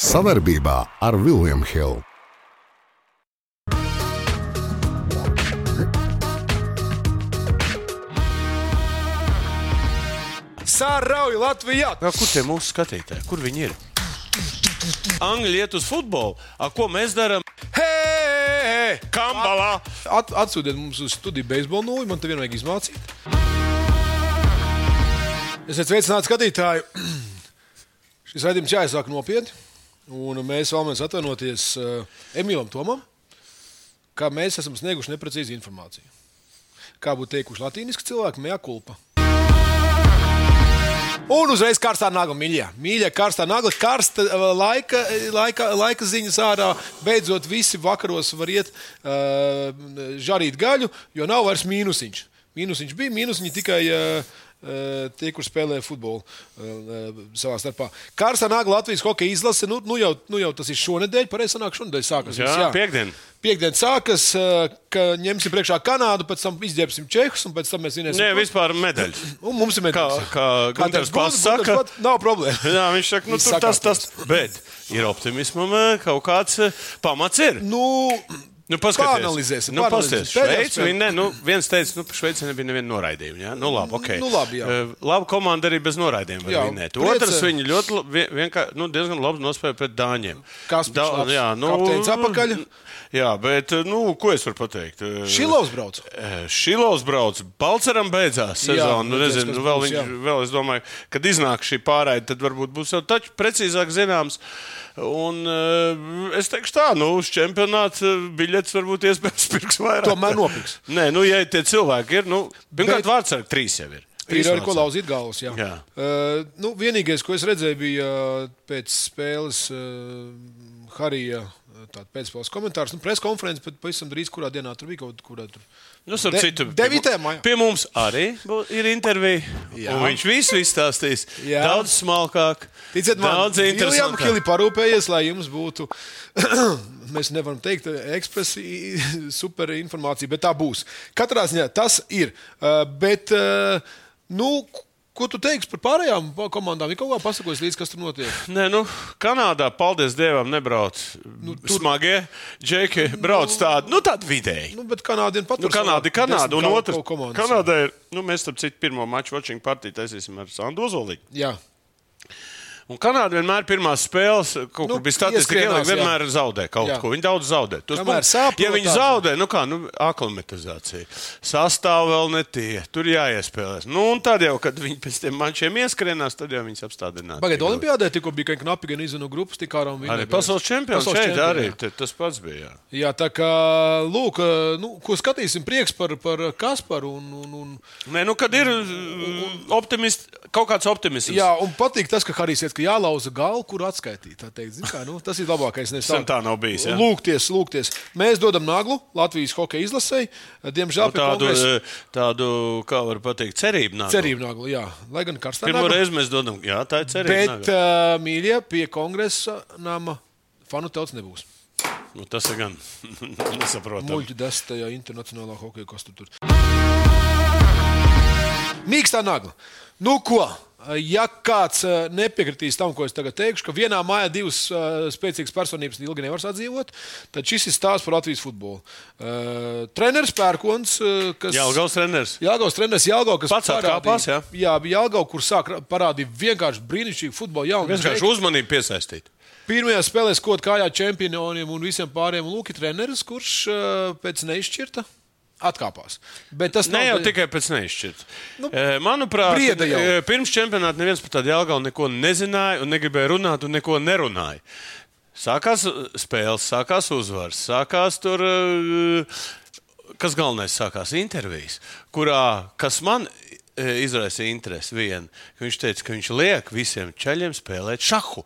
Savaarbībā ar Vilniem Hilu. Sārauj Latvijā! Nā, kur tie mūsu skatītāji? Kur viņi ir? Angļi iet uz futbolu. A, ko mēs darām? Hei! Kambalā! At, atsūtiet mums uz studiju beisbolu nulli, man te vienmēr vajag izmācīt. Es sveicinātu skatītāju. Šis raidījums jāizsāk nopietni. Un mēs vēlamies atvainoties uh, Emilam Tomam, ka mēs esam snieguši neprecīzu informāciju. Kā būtu teikuši latīniski cilvēki, mea culpa. Un uzreiz karstā nagla, mīļā. Mīļā, karstā nagla, karsta eh, laika, laika, laika ziņas ārā. Beidzot, visi vakaros var iet uh, žarīt gaļu, jo nav vairs mīnusiņš. Mīnusiņš bija, mīnusiņi tikai uh, uh, tie, kur spēlē futbolu uh, uh, savā starpā. Karstā nagla Latvijas hokeja izlase, nu, nu, jau, nu jau tas ir šonadēļ, pareizi sanāk, šonadēļ sākas. Jā, viss, piekdien. Piekdien sākas, uh, ka ņemsim priekšā Kanādu, pēc tam izģērbsim Čehus un pēc tam mēs zinēsim. Nē, vispār medaļas. Un mums ir medaļas. kā Gunters Gunters Pasts Gunters saka- Pasts- nav problēma. Jā, viņš saka, nu, Viņš tur tas, sakārtos. tas. Bet ir optimismam eh, kaut kāds eh, pamats. Ir. Nu, Nu, paskaties, Paanalizēsim, Nu, paanalizēsim. paskaties. Pēdējā Šveice, spēlē. viņa, ne, nu, viens teica, nu, Šveicē nebija neviena noraidījuma. Ja? Nu, labi, okay. Nu, labi, jā. Eh, Laba komanda arī bez noraidījuma. Jā, var vinēt. priece- Otrs, viņa ļoti la- vie- vienkār- nu, diezgan labi nospēja pret Dāņiem. Kaspars labs, jā, nu, kapteinis apakaļ. Jā, bet, eh, nu, ko es varu pateikt? Eh, Šilovs brauc. Eh, Šilovs brauc, Balčūskam beidzās Jā, sezona. Nu, redzēs, nezinu, kas nu, vēl būs, viņš, jā. vēl es domāju, kad iznāk šī pārējai, tad varbūt būs jau taču precīzāk zināms. Un eh, es teikšu tā, nu, uz čempionāta eh, biļetes varbūt iespējams pirks vairāk. Tomēr nopirks. Nē, nu, ja tie cilvēki ir, nu, pirmkārt, Bet- vārds ar trīs jau ir. Ir Trīs arī ko vārdsargi. lauzīt galvas. Jā. Jā. Uh, nu, vienīgais, ko es redzēju, bija uh, pēc spēles uh, Harija uh, tāda pēcspēles komentārs. Nu, Preskonferences pat pavisam drīz, kurā dienā tur bija kaut kur. Tur. Nu, starp De- citu, pie 9. mu- maijā. Pie mums arī bū- ir intervija. Jā. un Viņš visu izstāstīs. Jā. Daudz smalkāk. Ticiet man, daudz Iljam interesantāk. Hili parūpējies, lai jums būtu, mēs nevaram teikt, ekspresi super informācija, bet tā būs. Katrā ziņā tas ir. Uh, Bet, uh, nu, ko tu teiksi par pārējām pa- komandām? Ir kaut kā pasakojis līdz, kas tur notiek. Nē, nu, Kanādā, paldies Dievam, nebrauc nu, tur... smagie. Džeki brauc nu, tādu, nu, tādu vidēji. Nu, bet Kanāda ir Nu, patīkama. Kanāda ir Kanāda, un otrs - komandas. Kanādā ir. Nu, mēs, starp citu, pirmo maču Watching partiju taisīsim ar Sandu Zoliņu. Jā, Un Kanāda vienmēr pirmās spēles, Nu, kaut nu, kur bija statistika, ieskrienās, ieliek, vienmēr zaudē kaut Jā. jā. ko. Viņi daudz zaudē. Tos Kamēr punktus- sāp, ja no viņi tā. zaudē, nu kā, nu, aklimatizācija. Sastāv vēl ne tie, tur jāiespēlēs. Nu, un tad jau, kad viņi pēc tiem mačiem ieskrienās, tad jau viņus apstādinās. pagaidiet, Olimpijādē tikko bija gan knapi, gan izvinu grupas, tik ārā un viņi Arī nebrauc. pasaules čempions Pasaules šeit čempioni, arī jā. te- tas pats bija. Jā. Jā, tā kā, lūk, nu, ko skatīsim, prieks par, par Kasparu un, un, un Nē, nu, kad ir mm, optimist, kaut kāds optimisms. Jā, un patīk tas, ka Harijs iet, ka jālauza galva, kur atskaitīt. tā teikt. Zini Kā, nu, tas ir labākais. nevis Sen tā nav bijis, jā. Lūgties, lūgties. Mēs dodam naglu Latvijas hokeja izlasēji. Diemžēl Nu, pie tādu, kongresa- eh, tādu, kā var teikt, cerību nāk. cerību naglu, jā, lai gan karstā. Pirmo nagla. reizi mēs domājam, jā, tā ir cerība. Bet, Bet, uh, mīļie, pie kongresa nama fanu tauts nebūs. nu, tas ir gan nesaprotami. Muļķi desmitajā internacionālā hokeja kostā. Tur. Mīkstā nagla. Nu, ko? Ja kāds eh, nepiekritīs tam, ko es tagad teikšu, ka vienā mājā divas eh, spēcīgas personības ilgi nevar sadzīvot, tad šis ir stāsts par Latvijas futbolu. Eh, Treneris Pērkons, eh, kas Jā, Gals Renners. Jāgaus treneris Jāgau, kas Pats atkāpās, jā. jā, bija Jāgau, kur sāk ra- parādīt vienkārši brīnišķīgu futbolu. Jā, Vienkārši uzmanību piesaistīt. Pirmajā spēlē skot kājā čempioniem un visiem pārējiem Lūki treneris, kurš eh, pēc neizšķirta atkāpās. Bet tas Ne jau nav tikai pēc neizšķirta. Nu, Nu, Manuprāt, brieda jau. eh, pirms čempionāta neviens par tādu jēlgaunu neko nezināja un negribēja runāt un neko nerunāja. Sākās eh, spēles, sākās uzvaras, sākās tur. eh, Kas galvenais sākās intervijas, kurā, kas man eh, izraisīja interesi, vien, ka viņš teica, ka viņš liek visiem ceļiem spēlēt šahu.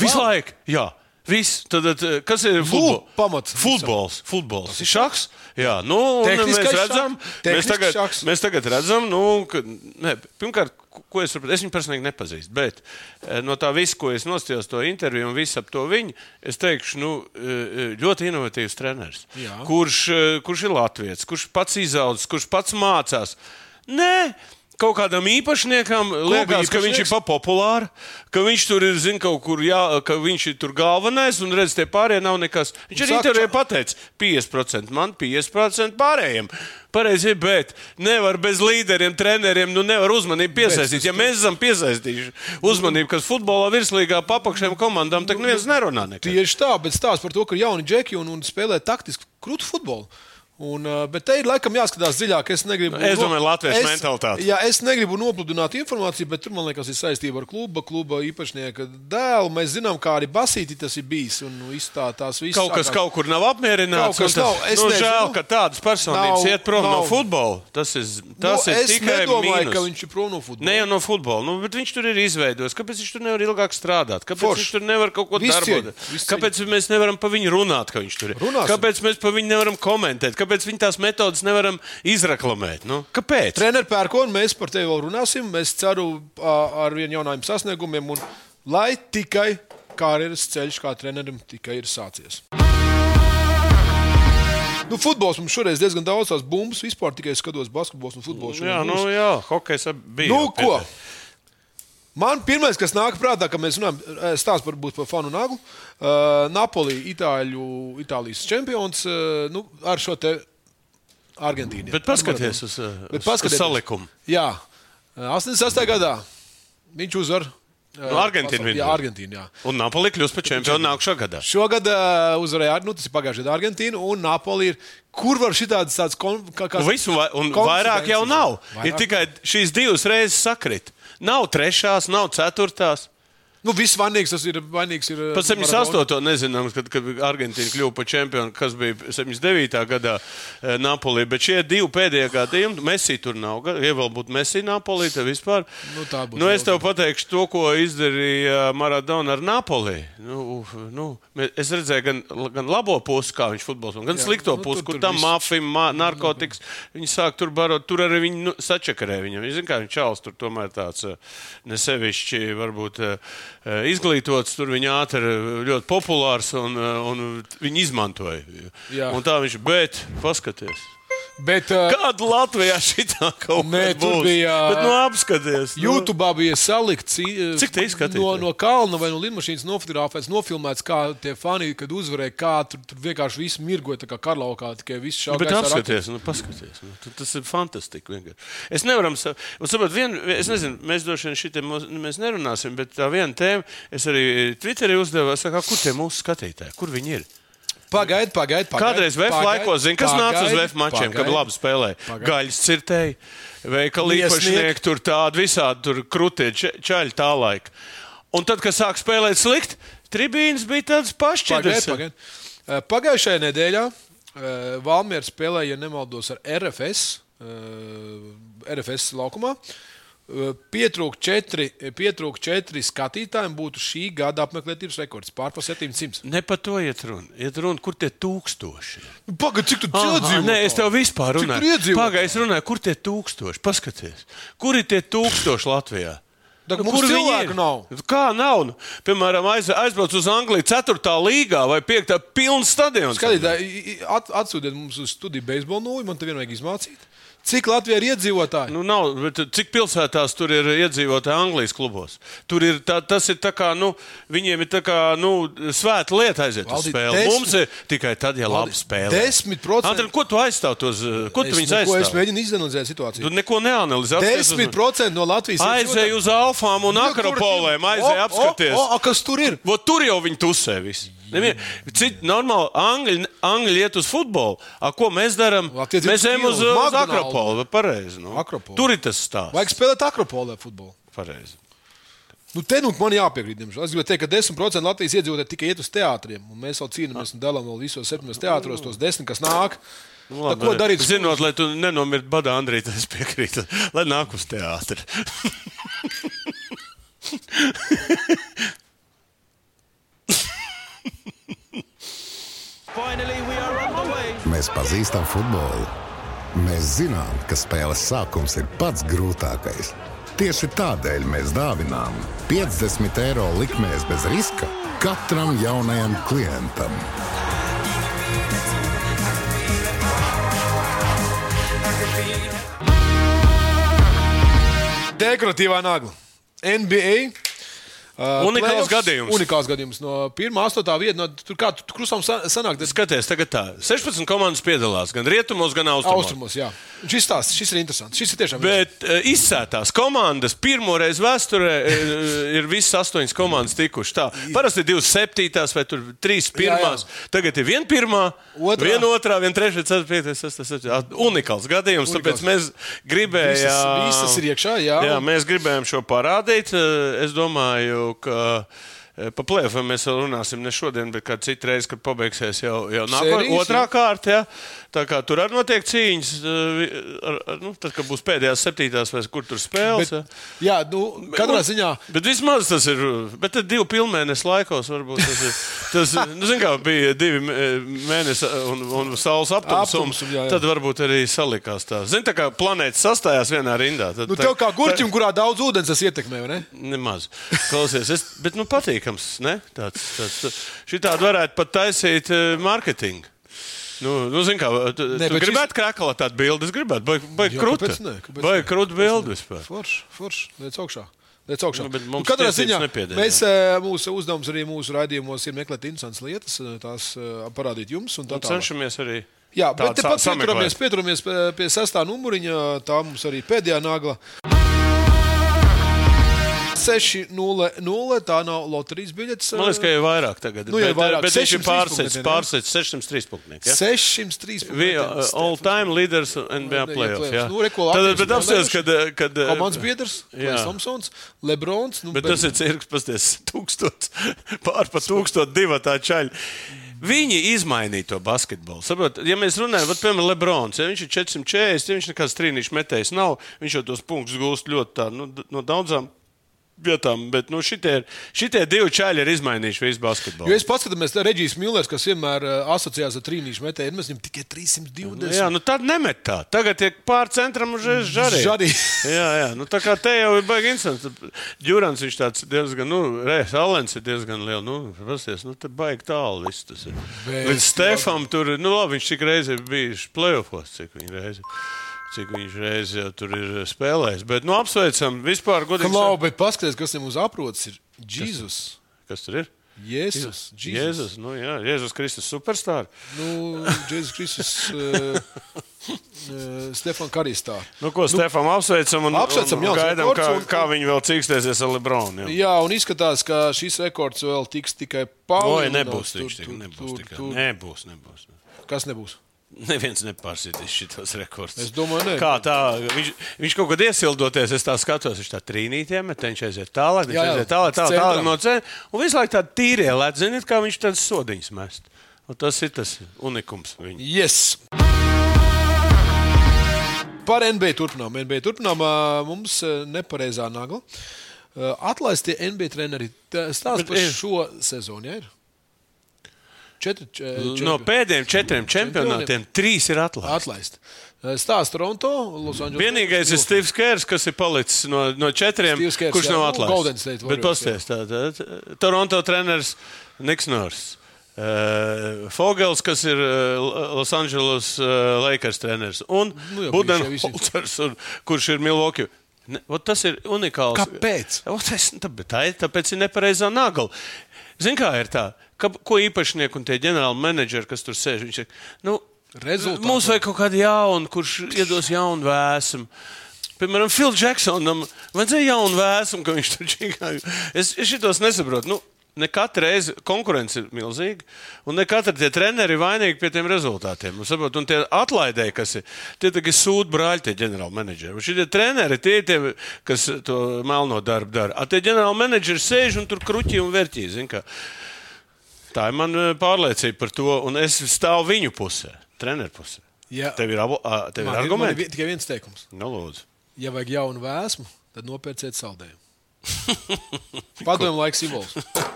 Visu Vau! laiku, jā. Viss, tad, tad, kas ir futbols? pamats visam. Futbols, futbols. Tas ir šachs. Jā, nu, un mēs Tehniskais redzam, šachs, mēs tehnisks tagad, šachs. mēs tagad redzam, nu, ka, ne, pirmkārt, ko- ko es saprotu, es viņu personīgi nepazīstu, bet eh, no tā visa, ko es nostājos to interviju un visu ap to viņu, es teikšu, nu, eh, eh, ļoti inovatīvs treneris, e, Jā. kurš, eh, kurš ir latviečs, kurš pats izaudzis, kurš pats mācās. Nē, Kaut kādam īpašniekam liekas, ka viņš ir īpašnieks? pa populārs, ka viņš tur ir zina, kaut kur jā, ka viņš ir tur galvenais un redz, tie pārējie nav nekas. Viņš arī saka, tur čau. pateica 50% man, 50% pārējiem. Pareizi, bet nevar bez līderiem, treneriem, nu nevar uzmanību piesaistīt. Ja mēs esam piesaistījuši uzmanību, kas futbolā virslīgā papakšiem komandām, tad neviens nerunā. Nekad. Tieši tā, bet stāsta par to, ka ir jauni džeki un, un spēlē taktiski krūtu futbolu. Un, uh, bet te ir laikam jāskatās dziļāk. Es, negribu, Nu, es no- domāju, latviešu mentalitāte. Jā, es negribu nopludināt informāciju, bet tur man liekas, ir saistība ar kluba, kluba īpašnieka dēlu. Mēs zinām, kā arī Basīti tas ir bijis. Un, nu, izstā, tās, visas Kaut kas sākās- kaut kur nav apmierināts. Kaut kas un nav, es nu, nezinu. žēl, ka tādas personības Nav- nav, iet prom nav. no nav. futbola. Tas ir, tas nu, ir es tikai nedomāju, mīnus. ka viņš ir prom no futbola. Ne jau no futbola, nu, bet viņš tur ir izveidojis. Kāpēc viņš tur nevar ilgāk strādāt? Kāpēc Forši. Forš. viņš tur nevar kaut ko Viss darīt? cieņa, viss Kāpēc mēs nevaram par viņu runāt, ka viņš tur ir? Runāsim. Kāpēc mēs par viņu nevaram komentēt? Kāpēc viņa tās metodas nevaram izreklamēt? Nu, kāpēc? Treneris Pērkons, mēs par tevi vēl runāsim. Mēs ceru ā, ar vien jauniem sasniegumiem, un lai tikai karjeras ceļš kā trenerim tikai ir sācies. Nu, futbols mums šoreiz diezgan daudz tās bumbas. Vispār tikai skatos basketbols un futbols. Jā, šodien nu, būs. jā, hokejs ab- bija. nu jau pie ko? tā. Man pirmais, kas nāk prātā, kad mēs runājam, eh, stāsts par, būs par Fanu Naglu. Uh, Napoli, Itāļu, Itālijas čempions uh, nu, ar šo te Argentīnu. Bet paskaties uz, uh, Bet uz, uz paskatieties. salikumu. Jā, 86. gadā viņš uzvar. eh, Nu, Argentīnu pasauli- viņa Jā, var. Argentīna. Jā. Un Napoli kļūst par čempionu nākamā gadā. Šogad uh, uzvarēja Argentīnu, nu, tas ir pagājušajā gadā Argentīna un Napoli. Ir, kur var šitādas tādas Un konflikts? Nu, Visu, vai- un vairāk jau nav. Ir tikai šīs divas reizes sakrit. Nav trešās, nav ceturtās. Nu, viss vainīgs tas ir. Vainīgs ir eh, Pat Maradona. 78. nezinām, kad, kad Argentīna kļuva par čempionu, kas bija 79. gadā e, Napolī. Bet šie divi pēdējie gadījumi, Messi tur nav. ga- Ja vēl būtu Messi Napolī, tad vispār. Nu, tā būtu nu, es jautri. tev pateikšu to, ko izdarīja eh, Maradona ar Napolī. Nu, uf, nu, mē- es redzēju gan, gan labo pusi, kā viņš futbolizē, gan Jā, Jā, slikto nu, nu, tur- pusi, kur tur tam viss. mafija, ma narkotikas. Viņi sāk tur barot, tur arī viņi nu, sačakarē viņam. Viņš zina, kā viņš čels tur tomēr tāds eh, nesevišķi, varbūt eh, eh, izglītots, tur viņa ātri eh, ļoti populārs un, eh, un viņi izmantoja. Jā. Un tā viņš, bet paskaties. Bet, uh, Kāda Latvijā šī tā kaut Nē, kāda tur bija, Bet, nu, apskaties. nu. YouTube bija salikts cī- Cik te izskatītāji? no, no kalna vai no lidmašīnas nofotografēts, nofilmēts, kā tie fani, kad uzvarēja, kā tur, tur vienkārši viss mirgoja, tā kā karlaukā, tikai viss Nu, šādi. bet apskaties, nu, paskaties. Nu, tu- tas ir fantastiski. vienkārši. Es nevaru saprast, vien, es nezinu, mēs droši vien šitiem mūs- nu, mēs nerunāsim, bet tā viena tēma, es arī eh, Twitterī uzdevu, es saku, "Ā, kur tie mūsu skatītāji, kur viņi ir? Pagaidiet, pagaidiet. Pagaid, Kādreiz VF laikos zina, kas nāca uz VF mačiem, kad labi spēlēja. pagaid. Gaļas cirtēji, veikali Viesnieki. īpašnieki, tur tādi visādi tur krūtie ča- čaļi tā laika. Un tad, kad sāk spēlēt slikti, tribīnas bija tādas Pagaidiet, pašķiras. pagaidiet. Eh, Pagājušajā nedēļā eh, Valmiera spēlēja, ja nemaldos, ar RFS, eh, RFS laukumā. Eh, Pietrūk četri, pietrūk četri skatītājiem, būtu šī gada apmeklētības rekords pārpa 700. Ne par to iet runa. Iet runa, kur tie tūkstoši. ir. Pagaidiet, Nu, cik tu Aha, dzīvo? Nē, es tev vispār Cik tur runāju. iedzīvotāji? Pagaidies, runāju, kur tie tūkstoši? Paskaties, kur ir tie tūkstoši Latvijā? Nu, Tak mums kur viņi cilvēku ir? nav. Kā nav? Nu, Piemēram, aiz, aizbrauc uz Angliju 4. līgā vai 5. pilns stadions. Skatītāji, at, atsūtiet mums uz studiju beisbolu nūju, man te vien vajag izmācīt. Cik Latvijā ir iedzīvotāji? Nu, nav, bet cik pilsētās tur ir iedzīvotāji Anglijas klubos? Tur ir tā, tas ir tā kā, nu, viņiem ir tā kā, nu, svēta lieta aiziet uz Valdi, spēli. desmit- Mums ir tikai tad, ja labi spēlē. 10%. Antoni, ko tu aizstāv tos, eh, ko tu viņus neko, es aizstāv? mēģinu izanalizēt situāciju. Tu neko neanalizē. Atskaties uz- 10% no Latvijas iedzīvotāju- Aizēju uz alfām un Nu, akropolēm, tur- aizēju O, O, apskatīties. o, o, kas tur ir? Vot tur jau viņi tusē visi. Nevien- Citi normāli angļi, angļi iet uz futbolu. A, ko mēs darām? Latvijas Mēs iet ejam uz uz, kino, uz uz McDonald's. Akropolu. vai Pareizi, nu. Akropolu. Tur ir tas stāsts. Vajag spēlēt akropolē futbolu. Pareizi. Nu, te nu man jāpiekrīt. diemžēl. Es gribēju teikt, ka 10% Latvijas iedzīvotāji tikai iet uz teātriem. un Mēs jau cīnāmies un dalām vēl visos septiņos teātros, tos desmit, kas nāk. Nu, Tā, ko darīt? Zinot, lai tu nenomirtu badā, Andrija, tad es piekrītu, lai nāk uz teātri. Mēs pazīstam futbolu. Mēs zinām, ka spēles sākums ir pats grūtākais. Tieši tādēļ mēs dāvinām 50 eiro likmēs bez riska katram jaunajam klientam. Dekoratīvā nagla. NBA. Uh, Unikāls playoffs. gadījums. Unikāls gadījums. No 1. un 8. vietas, no, tur kā tur krustām sa- sanāk, tas Skaties, tagad tā. 16 komandas piedalās gan rietumos, gan austrumos. austrumos. jā. Un Šis stāsts šis ir interesants. Šis ir tiešām interesants. Bet eh, izsētās komandas pirmoreiz vēsturē eh, ir visas astoņas komandas tikušas. Tā. Parasti ir divas septītās vai tur trīs pirmās. Jā, jā. Tagad ir viena pirmā, Otrā. viena otrā, viena trešā, ceturtā, piekta, sestā, septītā. Unikāls gadījums, Unikāls. tāpēc mēs gribējām. Visas, visas ir iekšā, jā. Jā, mēs gribējām šo parādīt. Eh, Es domāju, ka eh, pa plēsoņiem mēs vēl runāsim ne šodien, bet kādā citā reizē, kad pabeigsies jau, jau Sērijas, nākamā otrā jā. kārta. Ja? Tā kā tur arī notiek cīņas, eh, vi- ar, ar, nu, tad, kad būs pēdējās septītās vai kur tur spēles. Bet... Jā, nu, katrā ziņā. Bet vismaz tas ir. Bet tad divu pilnmēnešu laikos varbūt tas ir. Tas, nu, zin, kā, bija divi mē- mēneši un, un saules aptumsums. Aptumsums, jā, jā. Tad varbūt arī salikās tā. Zini, tā kā planētas sastājās vienā rindā. Tad, Nu, tā- tev kā tā- gurķim, kurā daudz ūdens tas ietekmē, vai ne? Nemaz. Klausies, es, bet nu, patīkams. Ne? Tāds, tāds, šitādi varētu pat taisīt uh, mārketingu. Nu, nu, zin kā, tu, Nē, ne, tu bet gribētu šis... krāklā tādu bildi, es gribētu, vai Jā, krūti. kāpēc ne? Kāpēc Vai ne? krūti bildi vispār. Forši, forši. Liec augšā. Liec augšā. Nu, bet mums katrā tiesības ziņā nepiedēļ, mēs, eh, mūsu uzdevums arī mūsu raidījumos ir meklēt interesantas lietas, eh, tās eh, parādīt jums. Un tā tālāk. Un Nu, cenšamies arī. Jā, bet tādu sa- tepat sameklēt. pieturamies, pieturamies eh, pie sestā numuriņa. Tā mums arī pēdējā nagla. 6-0-0. Tā nav loterijas biļetes. eh, Man liekas, ka jau vairāk tagad. Nu, jau bet, eh, vairāk. bet viņš ir 603 pārsēdis punktiem, jā? pārsēdis 603 punktiem. 603. Bija uh, all-time leaders NBA NBA playoffs. playoffs. jā. Nu, re, ko Tad, Latvijas bet apsēs, spēlējuši? kad. uh, kad, uh, Komandas biedrs, Jā. Klais Thompsons, Lebrons. Nu, Bet tas ir cirks, pasties, tūkstots, pār pa tūkstot divu tā čaļu. Viņi izmainīja to basketbolu. Saprot, ja mēs runājam, tad, piemēram, Lebrons, ja viņš ir 440, ja viņš nekāds trīnīšu metējs nav, viņš jau tos punktus gūst ļoti tā, nu, d- no daudzām vietām, bet nu, šitie, ir- šitie divi čaļi ir izmainījuši visu basketbolu. Jo es paskatāmies, ka Reģis Millers, kas vienmēr eh, asociējās ar trīnīšu metēju, mēs viņam tikai 320. Jā, nu tad nemet tā. Tagad ir pār centram uzreiz žarī. Žarī. jā, jā, nu tā kā te jau ir baigi instants. Džurans viņš tāds diezgan, nu, Rēs Alens ir diezgan liels. Nu, prasties, nu te baigi tālu viss tas ir. Bet- Līdz Stefam tur, ir- nu labi, viņš cik reizi ir bijis playoffos, cik viņa reizi. Cik viņš reizes jau tur ir spēlējis. Bet, nu, apsveicam, vispār godīgi. Klau, bet paskatieties, kas viņam uz aprotas ir. Jēzus, Kas tur ir? Jēzus, Jēzus. Jēzus, nu, jā, Jēzus Kristus superstar. Nu, Jēzus Kristus, uh, uh, Stefan Karistā. Nu, ko Stefam apsveicam un, apsveicam, un jā, gaidām, kā, rekords un- kā viņi vēl cīkstēsies ar Lebronu. jā. Jā, un izskatās, ka šis rekords vēl tiks tikai Oi, palielināts. nebūs Tur, tik tik, tur, nebūs tur, tik. tur. Nebūs, nebūs. Kas nebūs? Neviens nepārsitīs šitos rekordus. Es domāju, ne. Kā tā, viņš, viņš kaut kad iesildoties, es tā skatos, viņš tā trīnītiem, bet viņš aiziet tālāk, viņš Jā, jā, aiziet tālāk, centrā. tālāk, tālāk no ceļa. Un visu laiku tā tīrie lēt, ziniet, kā viņš tāds sodiņas mest. Un tas ir tas unikums viņa. Yes. Par NBA turpinām. NBA turpinām ā, mums ā, nepareizā nagla. Ā, Atlaistie NBA treneri Tā stāsta Bet par ir. šo sezonu. Ja ir? Četri, eh, če, No čempioni. pēdējiem četriem čempionātiem trīs ir atlaisti. Atlaist. Ā, Stāsta Toronto, Losandželosā. Vienīgais ir Steve's Kērs, kas ir palicis no, no četriem, Steve's Kerrs, jā, kurš nav nu, Golden atlaists. State Warriors, Bet pasties, tā, tā, tā, Toronto treneris Niks Nors. Uh, Fogels, kas ir uh, Los Angeles uh, Lakers treneris, un Nu nu jau bijušie visi. Budenholzers, un kurš ir Milwaukee. Ne, ot tas ir unikāls. Kāpēc? Ot es, nu, tā, tā ir, tāpēc ir nepareizā nagla. Zini, kā ir tā, ka, ko īpašnieki un tie ģenerāli menedžeri, kas tur sēž, viņš saka, nu, Rezultāti. Mums vajag kaut kādu jaunu, kurš iedos jaunu vēsmu. Piemēram, Filu Džeksonam vajadzēja jaunu vēsmu, ka viņš tur čīkāja. Es, es šitos nesaprotu. Nu, Ne katra reize konkurence ir milzīga, un ne katra tie treneri ir vainīgi pie tiem rezultātiem. Un, sabot, un tie atlaidēji, kas ir, tie tagad sūta brāļi, tie ģenerāli menedžeri. Un šie treneri, tie ir tie, kas to melno darbu dara. A tie ģenerāli menedžeri sēž un tur kruķi un vērtī. zini kā. Tā ir mana pārliecība par to, un es stāvu viņu pusē, treneru pusē. Jā. Tev ir, abu, ā, tev Man ir- man ir ir argumenti? vi- tikai viens teikums. Nu, lūdzu. Ja vajag jaunu vēsmu, tad nopērciet saldējumu. Padomu laiks simbols.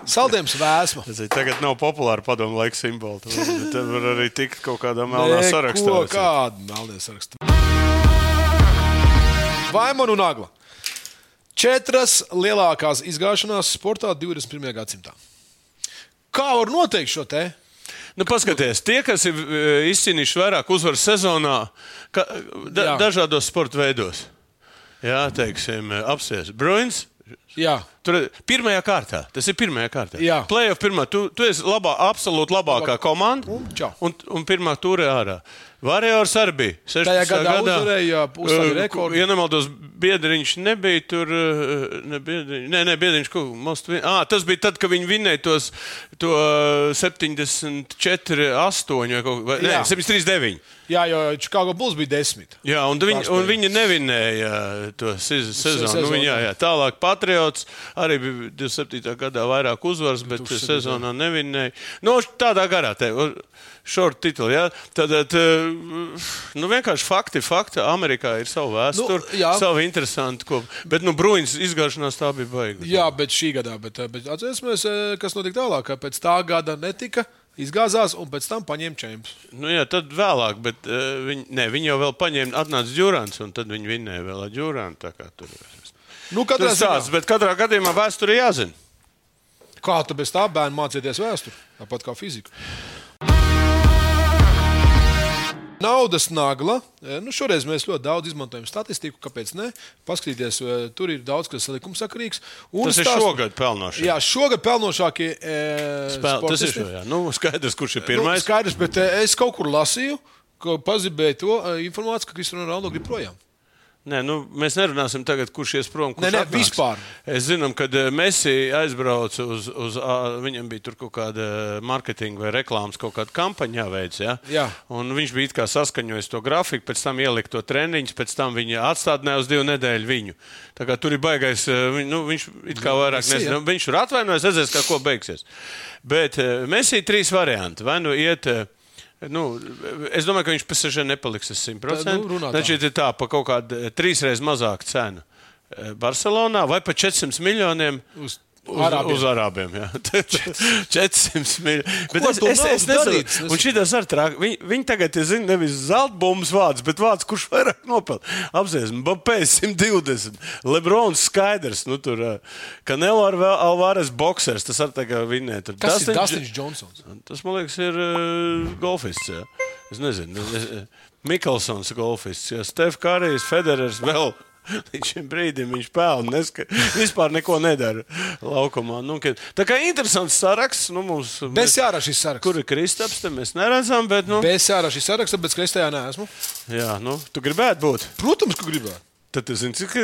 Saldējums vēsma. Es teicu, Tagad nav populāra padomu laika simbola. tu vari, bet Tev var arī tikt kaut kādā melnā sarakstā. Ko, Kāda melnā sarakstā? Vaimanu un Agla. Četras lielākās izgāšanās sportā 21. gadsimtā. Kā var noteikt šo te? Nu, paskaties, tie, kas ir e, izcīnījuši vairāk uzvaru sezonā, ka, da, Jā. dažādos sporta veidos. Jā, teiksim, apsēs. Bruins. Jā, Tur ir pirmā kārta. Tas ir pirmā kārta. Jā. Playoff pirmā. Tu, tu esi labā, absolūti labākā komanda. Un čau. un, un pirmā tūrē ārā. Varējors arī bija. 16. Tajā gadā gadā uzvarēja, uzstādīja Uh, rekordu. Ja nemaldos, biedriņš nebija tur. uh, Ne, biedriņš, nē, nē, biedriņš. Ko, most, à, tas bija tad, kad viņi vinēja tos to uh, 74, 8 vai kaut kā Jā. tādu. 73, 9. jā jo Čikāgo Bulls bija desmit. Jā, un viņi, un Pārspējas. viņi nevinēja uh, to se- sezonu. Nu, sezonu, viņi, jā, jā. Tālāk Patriots arī bija 27. gadā vairāk uzvaras, bet sezonā nevinēja. Nu, tādā garā te. Šādu titulu. Ja? Tad nu, vienkārši fakti, fakti. Amerikā ir sava vēsture, Nu, nu, jā. sava interesanta kopa. Bet nu, Bruins izgāšanās tā bija baigta. Jā, bet šī gadā, bet, eh, bet atcerēsimies, eh, kas notika tālāk. ka Pēc tā gada netika izgāzās, un pēc tam paņēma čempions. Nu, jā, tad vēlāk, bet uh, viņi, ne, viņi jau vēl paņēma, atnāca Džurants, un tad viņi vinēja vēl ar Džurantu. Nu, Tur katrā tas tāds, bet katrā gadījumā vēsture ir jāzina. Kā tu bez tā bērnu mācīties vēsturi, tāpat kā fiziku? Naudas nagla. E, Nu, šoreiz mēs ļoti daudz izmantojam statistiku, kāpēc ne? Paskatīties, e, tur ir daudz kas likumsakarīgs. Un Tas ir stāsts- šogad pelnošais. Jā, šogad pelnošākie. E, Spēl, tas ir sportisti. šo, jā. Nu, skaidrs, kurš ir Nu, pirmais. Nu, skaidrs, bet e, es kaut kur lasīju, ka pazibēju to e, informāciju, ka Kristofers Ronaldo grib projām. nē, nu, mēs nerunāsim tagad, kurš ies prom. Kurš Nē, nē, atnāks. vispār. Es zinu, kad eh, Messi aizbrauca uz, uz ā, viņam bija tur kaut kāda eh, mārketinga vai reklāmas kaut kāda kampaņa jāveic. Ja? Jā. Un viņš bija it kā saskaņojis to grafiku, pēc tam ielika to treniņus, pēc tam viņa atstādināja uz divu nedēļu viņu. Tā kā tur ir baigais, eh, viņ- nu, viņš it kā vairāk Messi, jā. nezina. Viņš ir atvainojis, redzēs, kā ko beigsies. Bet eh, Messi ir trīs varianti. Vai nu iet. eh, Nu, es domāju, ka viņš PSG nepaliks uz 100%. Tā, nu, runā tā. Taču ir tā, pa kaut kādu eh, trīsreiz mazāku cenu eh, Barcelonā vai pa 400 miljoniem. Uz Uz Arābiem. arābiem. Uz arābiem jā, 400 Ko miljonus. tu naudu darīt? Es Un šī tas ir traki. Viņi, viņi tagad ir zina, nevis zelta bumbas vārds, bet vārds, kurš vairāk nopelna. Apsēsim, Bapē 120. Lebrons skaidrs, nu tur eh, Kanelo ar vēl Alvarez boxers. Tas ar tagad vinē. Tur Kas ir Dustin- Dustins Džonsons? Tas man liekas, ir uh, golfists. Jā. Es nezinu, es, es- Miklsons ir golfists, ja Stefans Kārijs, Federers vēl. Līdz šim brīdim viņš pelna. neska- Vispār neko nedara laukumā. Nu, ka- tā kā interesants saraksts. Nu, mums, Bez mēs, jārā šis saraksts. kur ir Kristaps? te Mēs neredzam, bet. Nu, Bez jārā šis saraksts, bet skrejstājā neesmu. jā, nu, tu gribētu būt. Protams, ka gribētu. Tad tu zini, cik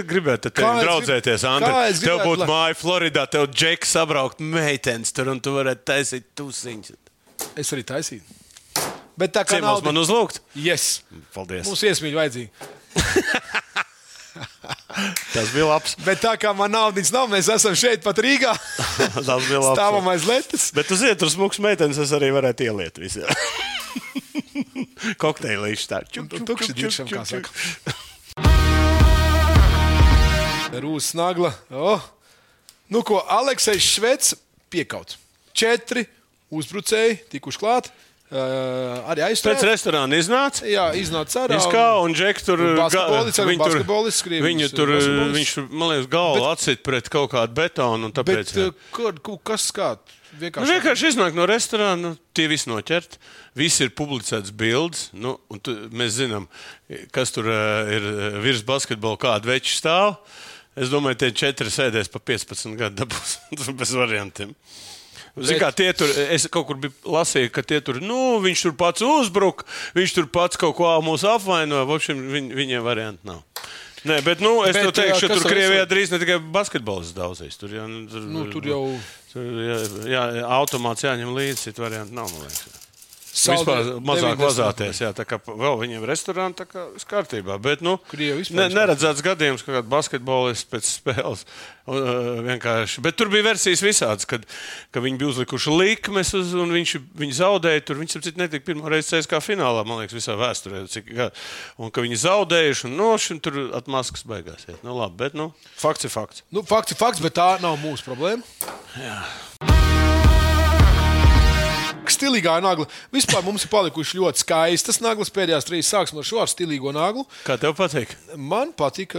Kā gribētu ar tevi es draudzēties. grib- Andri, kā es tev gribētu, būtu lai- māja Floridā, tev džeks sabraukt meitenes tur un tu varētu taisīt tusiņas. Es arī taisīju. Bet tā kā Ciemos nav. man uzlūgt? Yes. Paldies. Mums iesmīgi vajadzīgi. Tas bija labs. Bet tā kā man naudas nav, mēs esam šeit pat Rīgā. Tas bija labi. Stāvam aiz letes. Bet uz vietas smūgs meitenes es arī varētu ieliet visiem. Kokteilīši tā. Čuk, čuk, Tukši čuk, dīkšam, čuk, kā čuk. saka. Rūs nagla. Oh. Nu ko, Aleksējs Švets piekauts. Četri uzbrucēji tikuši klāt. Uh, arī Pēc aizstāvēt. restorāna iznāca. Jā, iznāca ārā. Viņš kā un Džeks tur Un basketbolists ga- arī, viņi tur- basketbolists, Krievijas Viņu tur, eh, basketbolists. viņš, man liekas, galvu atsit pret kaut kādu betonu. un Bet Tāpēc, jā. eh, kur, kur, kas kā? Vienkārši. Nu, vienkārši iznāk no restorāna, nu, tie visi noķerti. Viss ir publicēts bildes, nu, un tu, mēs zinām, kas tur uh, ir eh, virs basketbola, kāda veči stāv. Es domāju, tie četri sēdēs pa 15 gadu, dabūs tur bez variantiem. Zin, kā, tie tur, es kaut kur biju lasījis, ka tie tur, nu, viņš tur pats uzbruka, viņš tur pats kaut ko mūs apvainoja. Vopšiem, viņ, viņiem varianti nav. Nē, bet nu, es Bet, bet, teikšu, eh, ka kas tur vēl Krievijā drīz ne tikai basketbols daudzīs. Tur, jā, nu, tur, Nu, tur jau Tur jā, jā, automāts jāņem līdzi, citu variantu nav. man liekas. saldi- Vispār mazāk 90. vazāties. Jā, tā kā pa- vēl viņiem restorāna tā kā viss kārtībā. Bet, nu, Krievi vispār ne, vispār. neredzēts gadījums, ka kāds basketbolists pēc spēles uh, vienkārši. Bet tur bija versijas visādas, kad, kad viņi bija uzlikuši likmes uz, un viņš, viņi zaudēja. Tur viņi saprot, netika pirmo reizi CSK finālā, man liekas, visā vēsturē. Cik, gā- un ka viņi zaudējuši, un nu, no šim tur atmaskas beigās. iet. Nu, labi, bet, nu, fakts ir fakts. Nu, fakts ir fakts, bet tā nav mūsu problēma. Stilīgā nagla. Vispār mums ir palikuši ļoti skaistas naglas. Pēdējās trīs sāksim ar šo ar stilīgo naglu. Kā tev patīk? Man patīk,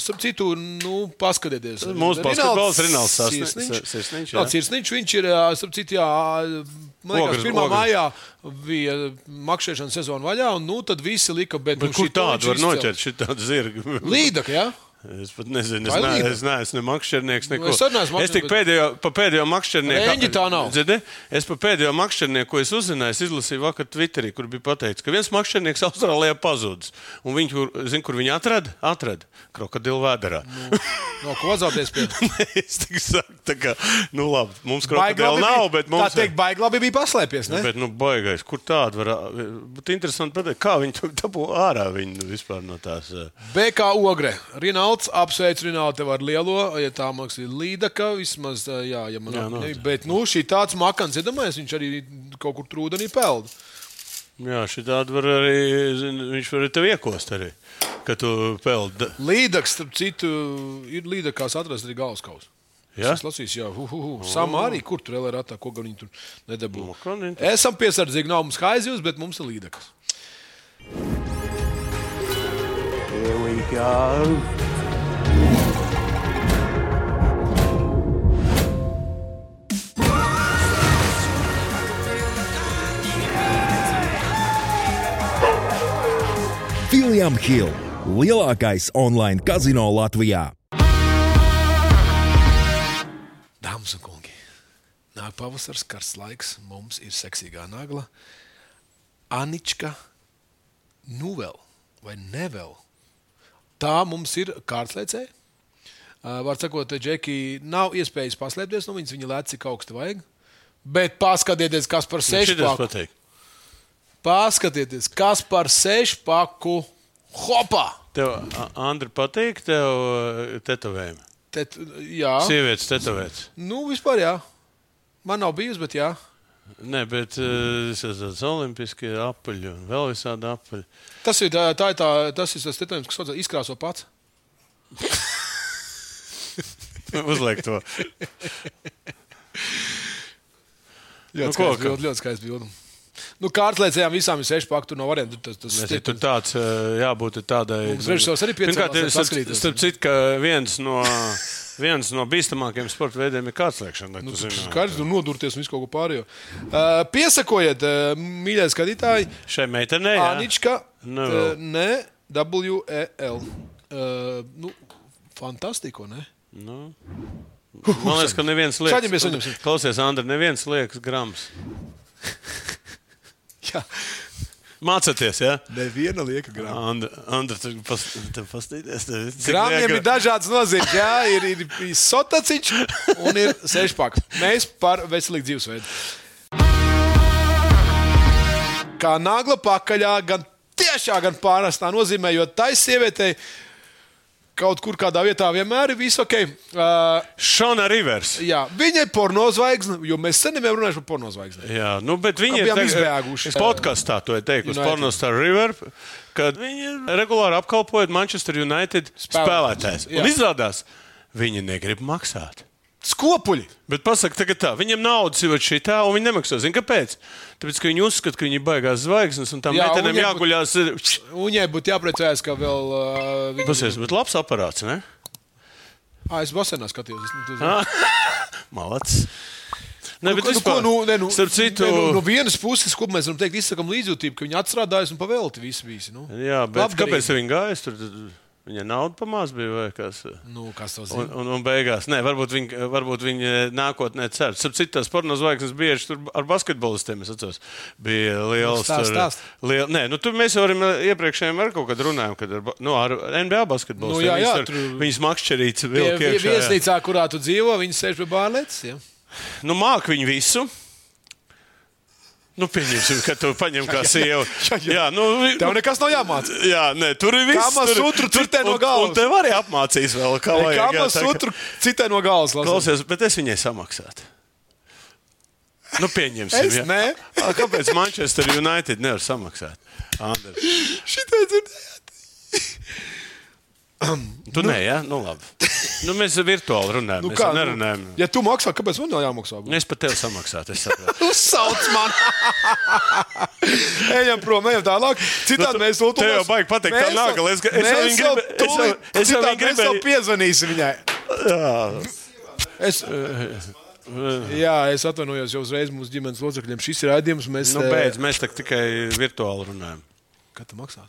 starp citu, nu, paskatieties. Mūsu basketbolists Rinalds Sasni- Sirsniņš. Sa- Sirsniņš, jā. Rinalds Sirsniņš. Viņš ir, ā, starp citu, jā, man liekas, Ogres- pirmā ogres. mājā bija makšķerēšana sezona vaļā, un nu, tad visi lika, bet, Bet nu, kur šito tādu viņš var izcēla. noķert? Šī tāda zirga. Līdaka, jā? Es pat nezinu, es Tā ir neesmu līga. es, ne, es ne makšķernieks. Nu, Neko. es arī neesmu es tik makšķernieks, pēdējo, pa pēdējo makšķernieku. Reņģi tā nav. Dzirdi? Es pa pēdējo makšķernieku, ko es uzzināju, es izlasīju vakar Twitterī, kur bija pateikts, ka viens makšķernieks Austrālijā pazudis. Un viņš, zin, kur viņu atrada? Atrada krokodilu vēderā. Nu. No ko zaudies pie? es tik saku, tā kā, nu labi, mums krokodilu nav, bet mums. tā teikt, baigi labi bija paslēpies. Ne? Bet, nu, baigais, kur tāda var būt? Interesanti, pateikt, kā viņi to dabū ārā viņu vispār no tās. eh, BK Ogre. Rinalds apsveicu Rinaldu tev ar lielo, ja tā māksla ir līdaka, vismaz, jā, ja man Jā, nu. jā, bet, nu, šī tāds makans, iedomājies, viņš arī kaut kur trūdenī peld. Jā, šī tāda var arī, zini, viņš var arī tev iekost arī, ka tu peldi. Līdaks, starp citu, ir līdakās atrast arī galvaskaus. Ja? Es lasīju, jā, uhuhu. Samā arī, kur tur vēl ir atā, ko gan viņi tur nedabū. Nu, kā viņi tur- Esam piesardzīgi, nav mums haizivs, bet mums ir līdakas. Here we go. Filiam Hill - lielākais online kazino Latvijā. Dāmas un kungi, nāk pavasars, karsts laiks, mums ir seksīgā nagla. Anička, nu vēl, vai ne vēl? Tā mums ir kārtslēcē. Var sakot, Džeki, nav iespējas paslēpties no viņas, viņa lēca cik augstu vajag. Bet paskatieties, kas Nu, par sešu Šitas paku. patīk. Paskatieties, kas par sešu paku. Hopā! Tev, A- Andri, patīk tev eh, tetovējumi. Tet, jā, Sievietes tetovēts. nu vispār jā. Man nav bijusi, bet jā. Nē, bet eh, es esmu tāds olimpiskie apaļi un vēl visādi apaļi. Tas ir, tā, tā ir tā, tas ir tas tetovējums, kas saucas izkrāso pats. Uzliek to. Jā, Nu, tas ko, bija ka- ļoti, ļoti skaisti. Bildi. Nu, Kārtlēcējām visām ir seši pakti, tur nav variantu. Tas, tas, Mēs tas, ir tur tāds, eh, jābūt ir tādai. Mums režisors arī piecēlās, Pirmkārt, lai starp- paskatītos. Starp citu, ka viens no, viens no bīstamākajiem sporta veidiem ir kārtslēgšana. Nu, Skaidrs, tur nodurties un visu kaut ko pārējo. Uh, piesakojiet, uh, mīļie skatītāji, Šai meitenei. jā? Anička, Nu uh, vēl. ne, WEL. Uh, nu, fantastiko, ne? Nu. Man liekas, ka neviens liekas. Saņemies, saņemsim. Klausies, Andri, neviens liekas grams. Jā, Mācāties, jā? Ja? neviena lieka grāmata. Andri, Andri tu pas, tev pastīties. Tev, cik Grāmatiem lieka- ir dažādas nozīmes. Jā, ir, ir, ir sotaciņš un ir sešpaks. Mēs par veselīgu dzīvesveidu. Kā nagla pakaļā, gan tiešā, gan pārnestā nozīmē, jo taisa sievietei kaut kur kādā vietā vienmēr ir viss ok. Uh, Šona Rivers. jā, viņa ir pornozvaigzne, jo mēs sen jau runājam par pornozvaigzni. Jā, nu, bet viņi Ka ir bijām tagad- izbēguši. Es podkāstā to teicu, uz United. Pornostar River, kad viņi regulāri apkalpoja Manchester United Spēlētājs. spēlētājs. Un Jā. izrādās, viņi negrib maksāt. Skopuļi! Bet pasak, tagad tā, viņam naudas ir šī tā, un viņi nemaksā. Zini, kāpēc? Tāpēc, ka viņi uzskata, ka viņi ir baigās zvaigznes, un tam Jā, un meitenēm viņiem- jāguļās. ir- Un viņai būtu jāpriecājas, ka vēl uh, viņa. Pasies, bet labs aparāts, ne? Ah, es basenā skatījos. Es, nu, tu- Malacis. Ne, bet Nu, ko, vispār, nu, ne, nu, starp citu, ne, nu, no vienas puses, ko mēs varam teikt, izsakām līdzjūtību, ka viņi atstrādājas un pavēlti visi. visi nu. jā, bet Labdarīgi. kāpēc viņi gāja? Tur viņa nauda pamāz bija vai kas? Nu, kas tas Un, ir? un, un beigās, nē, varbūt viņi, varbūt viņi eh, nākotnē cer. Starp citu, tās pornozvaigznes bieži tur ar basketbolistiem, es atceros, bija liels. stāst, tur, stāst. Liel, nē, nu, tur mēs jau varam eh, iepriekšējiem ar kaut kad runājām, kad ar, ba- nu, ar NBA Nu, basketbolistiem. jā, jā, viņas, tur- viņas makšķerīts Pie, vēl pie iekšā. jā. viesnīcā, kurā tu dzīvo, viņi sēž pie bārlētas. Ja? Nu, māk viņu visu. Nu, pieņemsim, ka tu paņem kā sievu. jā, jā. jā, nu, vi- Tev nekas nav jāmācās. Jā, nē, tur ir viss. Kamas tur- sutru citē no un- galvas. Un tev arī apmācīs vēl, kā vajag. jā, Kā mums tā kā- otru citai no galvas lasīt? Klausies, bet es viņai samaksātu. Nu, pieņemsim. Es jā. nē. Ā, Kāpēc Manchester United nevar samaksāt? Andri, Šitai dzirdēju. tu nu, nē, jā, nu labi. Nu, mēs virtuāli runājam, nu, mēs kā, nerunājam. ja tu maksā, kāpēc man jāmaksā? Nu, es pat tev samaksātu. es saprotu. Uzsauc man! ejam prom, ejam tālāk. Citādi mēs to tev Nu, jau baigi pateikt, tā nagla. Es- es jau viņu gribēju- es jau- es jau viņu Mēs jau gribēju- piezvanīsim viņai. Es, jā, es atvainojos jau uzreiz mūsu ģimenes locekļiem. Šis ir raidījums. Mēs eh, Nu, beidz, mēs tak tikai virtuāli runājam. Kā tu maksās?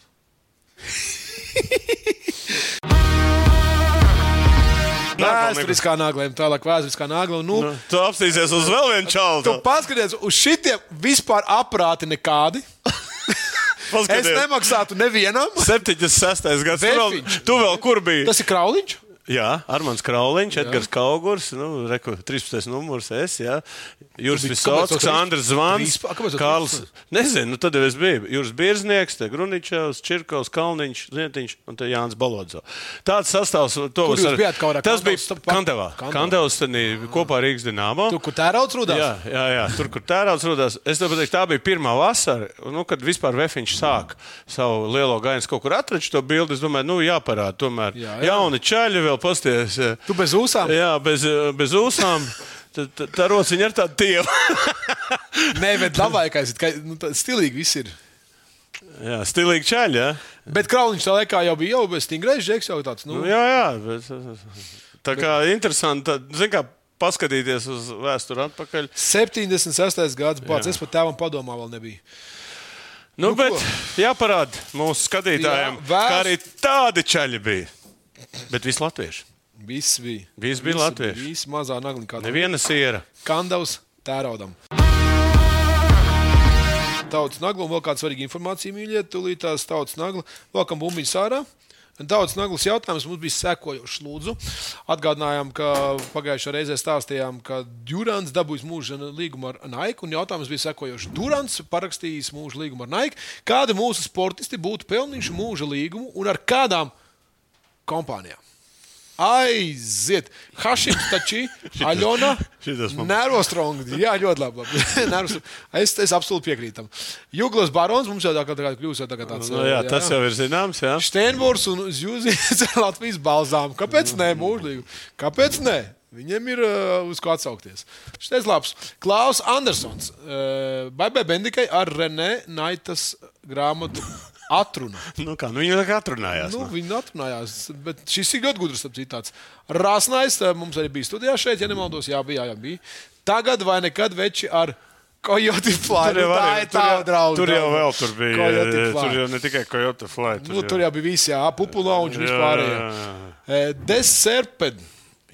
Vēsturiskā nagla, ejam tālāk, vēsturiskā nagla. un, Nu, nu. Tu apstāsies uz vēl vienu Tu čaldu. paskaties, uz šitiem vispār aprāti nekādi. Es Paskaties, nemaksātu nevienam. 76. gads. Tu vēl, Vefiņš. tu vēl kur biji? Tas ir Krauliņš. Jā, Armāns Krauliņš, Edgars Kaugurs, nu, reku, 13. numurs, es, jā. Jūras Tu biji- kāpēc Visautskas, tu Andris Zvans, Vispār- kāpēc tu Kārls. 13.? Nezinu, nu, tad jau es biju. Jūras Birznieks, te Gruničevs, Čirkovs, Kalniņš, Zietiņš un te Jānis Balodzo. Tāds sastāvs, to Kur es jūs ar- bijāt kaut kādā Tas bija Kandavas starp- Kandavā. Kandavā. Kandavas tenī kopā ar Rīgas Dinamo. Tur, kur tērauds rudās. Jā, jā, jā, tur, kur tērauds radās. Es domāju, ka tā bija pirmā vasara, nu, kad vispār Vēfiņš sāk savu lielo gainu, kaut kur atraču to bildi. Es domāju, nu, jāparāda tomēr. Jā, Jā, jā. jā. Jauni čaļi vēl pasties. Tu bez ūsām? Jā, bez, eh, bez ūsām. Tad- tad Tā rociņa ir tāda tieva. Nē, bet labākais ir, ka nu, tā stilīgi viss ir. jā, stilīgi čaļi. Jā, Bet Krauliņš tajā laikā jau bija jau bez stingrēs, žeks jau tāds. Nu, nu, jā, jā bet, tā kā interesanti. tad, Zini, kā paskatīties uz vēsturi atpakaļ. 76. gads pats, es pat tēvam padomā vēl nebiju. Nu, nu, bet ko? jāparāda mūsu Jā, skatītājiem, jā, vēst... vēst- kā arī tādi čaļi bija. Bet visi latvieši. Viss bija. Viss bija latvieši. Viss mazā nagliņā. Neviena siera. Kandavs tēraudam. Tautas nagla un vēl kāda svarīga informācija, mīļie, tūlīt tās tautas nagla. Valkam bumbiņu sārā. Daudz naglas jautājums mums bija sekojošs. Lūdzu, atgādinājām, ka pagājušajā reizē stāstījām, ka Džurants dabūjis mūža līgumu ar Nike. Un jautājums bija sekojošs. Džurants parakstījis mūža līgumu ar Nike. Kādi mūsu sportisti būtu pelnījuši mūža līgumu un ar kādām kompānijām? Aiziet! Hašims taču, Aļona, šitas man- Nerostrongs. Jā, ļoti labi. labi. Nervos- es, es absolūti piekrītu tam. Juglas barons mums jau tā kā tā kā kļūst jau tā kā tāds. Nu, jā, jā, tas jā. jau ir zināms. Jā. Steinbūrs un Zjūzijas ar Latvijas balzām. Kāpēc nē, mūžīgi? Kāpēc nē? Viņiem ir uh, uz ko atsaukties. Šis labs. Klaus Andersons. Uh, Baibai Bendikai ar Renē Naitas grāmatu atrunu. Nu, kā, nu, viņi tā kā atrunājās. Nu, Nu. viņi atrunājās, bet šis ir ļoti gudrs. starp citu, tāds. Rāsnais, tā mums arī bija studijā šeit, ja nemaldos. Jā, bija, jā, jā, bija. Tagad vai nekad veči ar Coyote Fly. Tur jau, Nu, tā arī- ir tā tur jau- draudzība. Tur jau vēl tur bija. Coyote eh, Fly. Tur jau ne tikai Kyoto Flight. Nu, tur jau bija visi, jā, pupula un Jā, vispār. jā, Deserped,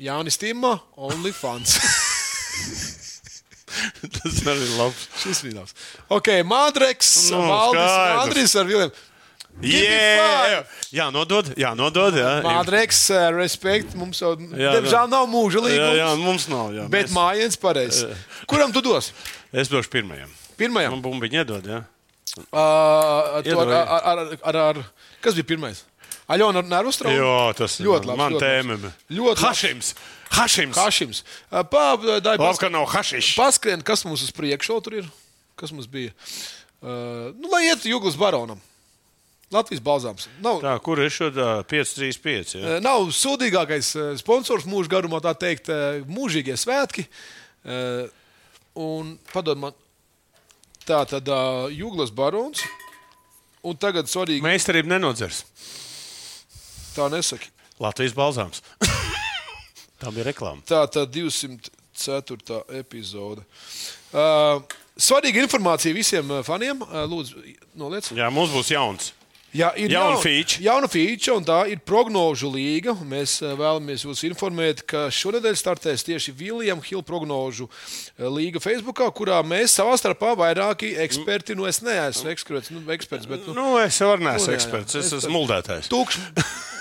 Jānis Tīma, OnlyFans. tas arī bija labs. Šis bija labs. Ok, Madreks, Nu, no, Valdis, un skaidrs. Andris ar Viliem. Jā, jā, nodod, jā, nodod. Jā, Madreks, eh, respekt, mums jau, Jā, jā. diemžēl, nav mūža jā, nu, jā, līgums. mums nav. Jā, Bet mēs- mājiņas pareizi. Kuram tu dos? Es došu pirmajam. Pirmajam. Man bumbiņu iedod. Jā. Uh, to ar, Iedod, jā. ar, ar, ar, ar, kas bija pirmais? Aļona Nerustra. Jā, tas ir Nu, Ļoti labs, Man ļoti tēma. labs. Ļoti labs. Hašims. Hašims. Hašims. Kašims. Uh, Pā, dai, Labi, ka nav hašišs. Paskrien, kas mums uz priekšu vēl tur ir? Kas mums bija? Uh, nu, lai iet Juglas baronam. Latvijas balzāms. Nav, Tā, kur ir šodien 535? Jā. eh, nav sūdīgākais eh, sponsors mūža garumā, tā teikt, eh, mūžīgie svētki. Eh, Un padod man, tā tad eh, Juglas barons. Un tagad svarīgi, Meistarība nenodzers. tā nesaki. Latvijas balzāms. Tā bija reklāma. Tā tad 204. epizode. Eh, Svarīga informācija visiem eh, faniem. Eh, Lūdzu, noliec. Jā, mums būs jauns. Jā, ir Jauna jaun- feature. Jauna feature, un tā ir prognožu līga. Mēs eh, vēlamies jūs informēt, ka šonadēļ startēs tieši Viljams Hilda prognožu eh, līga Facebook, kurā mēs savā starpā vairāki eksperti, nu es neesmu eksperts, nu, eksperts bet nu, Nu, es jau Nu, neesmu jā, jā. eksperts, es esmu muldētājs. tukš,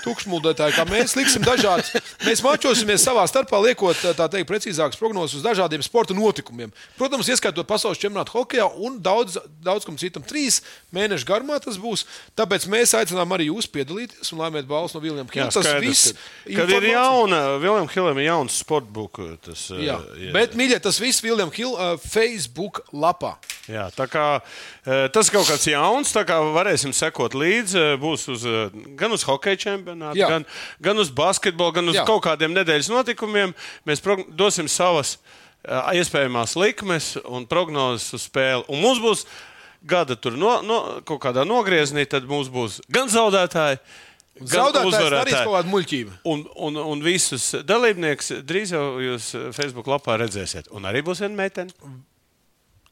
tukšmuldētāji, kā mēs liksim dažādas. Mēs mačosimies savā starpā, liekot eh, tā teikt precīzākas prognozes uz dažādiem sporta notikumiem. Protams, ieskaitot pasaules čempionātu hokeja un daudz, daudz kam citam. Trīs mēnešu garumā tas būs. Tāpēc mēs aicinām arī jūs piedalīties un laimēt balvas no Viljams Jā, Hilda. nu, Tas skaidrs, viss kad, kad ir informācija- jauna, Viljams Hilam ir jauns sportbook. Tas, eh, Jā. jā. Bet, mīļie, tas viss Viljams Hilda uh, Facebook lapā. jā, tā kā, eh, tas ir kaut kas jauns, tā kā varēsim sekot līdzi. eh, Būs uz, eh, gan uz hokeja čempionātu, Jā. gan, gan uz basketbolu, gan uz jā. Jā. kaut kādiem nedēļas notikumiem. Mēs prog- dosim savas eh, iespējamās likmes un prognozes uz spēli. Un mums būs gada tur no, no, kaut kādā nogriezienī, tad mums būs gan zaudētāji, gan Zaudētājs uzvarētāji. darīs kaut kādu muļķību. Un, un, un visus dalībniekus drīz jau jūs eh, Facebook lapā redzēsiet. Un arī būs viena meitene.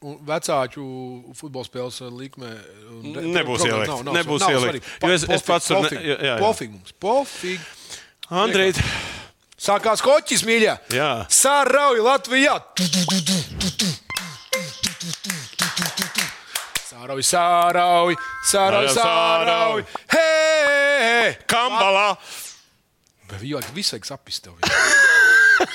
Un vecāku futbola spēles likmē un re- Nebūs programmā ielikt. nav- nav- Nebūs nav ielikt. svarīgi. Jo es- es Pofīgi, pats tur ne- pofīgi. jā, jā, jā. Pofīgi mums. Pofīgi. Andrej, Sākās koķis, mīļā. Jā. Sārauj Latvijā. Sārauj, sārauj, sārauj, sārauj. Hei! Kambalā! Jo viss vajag sapist tev.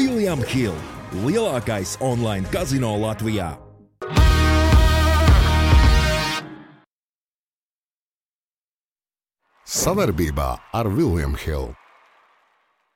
William Hill - lielākais online kazino Latvijā. Savarbībā ar Vilnius Hildu.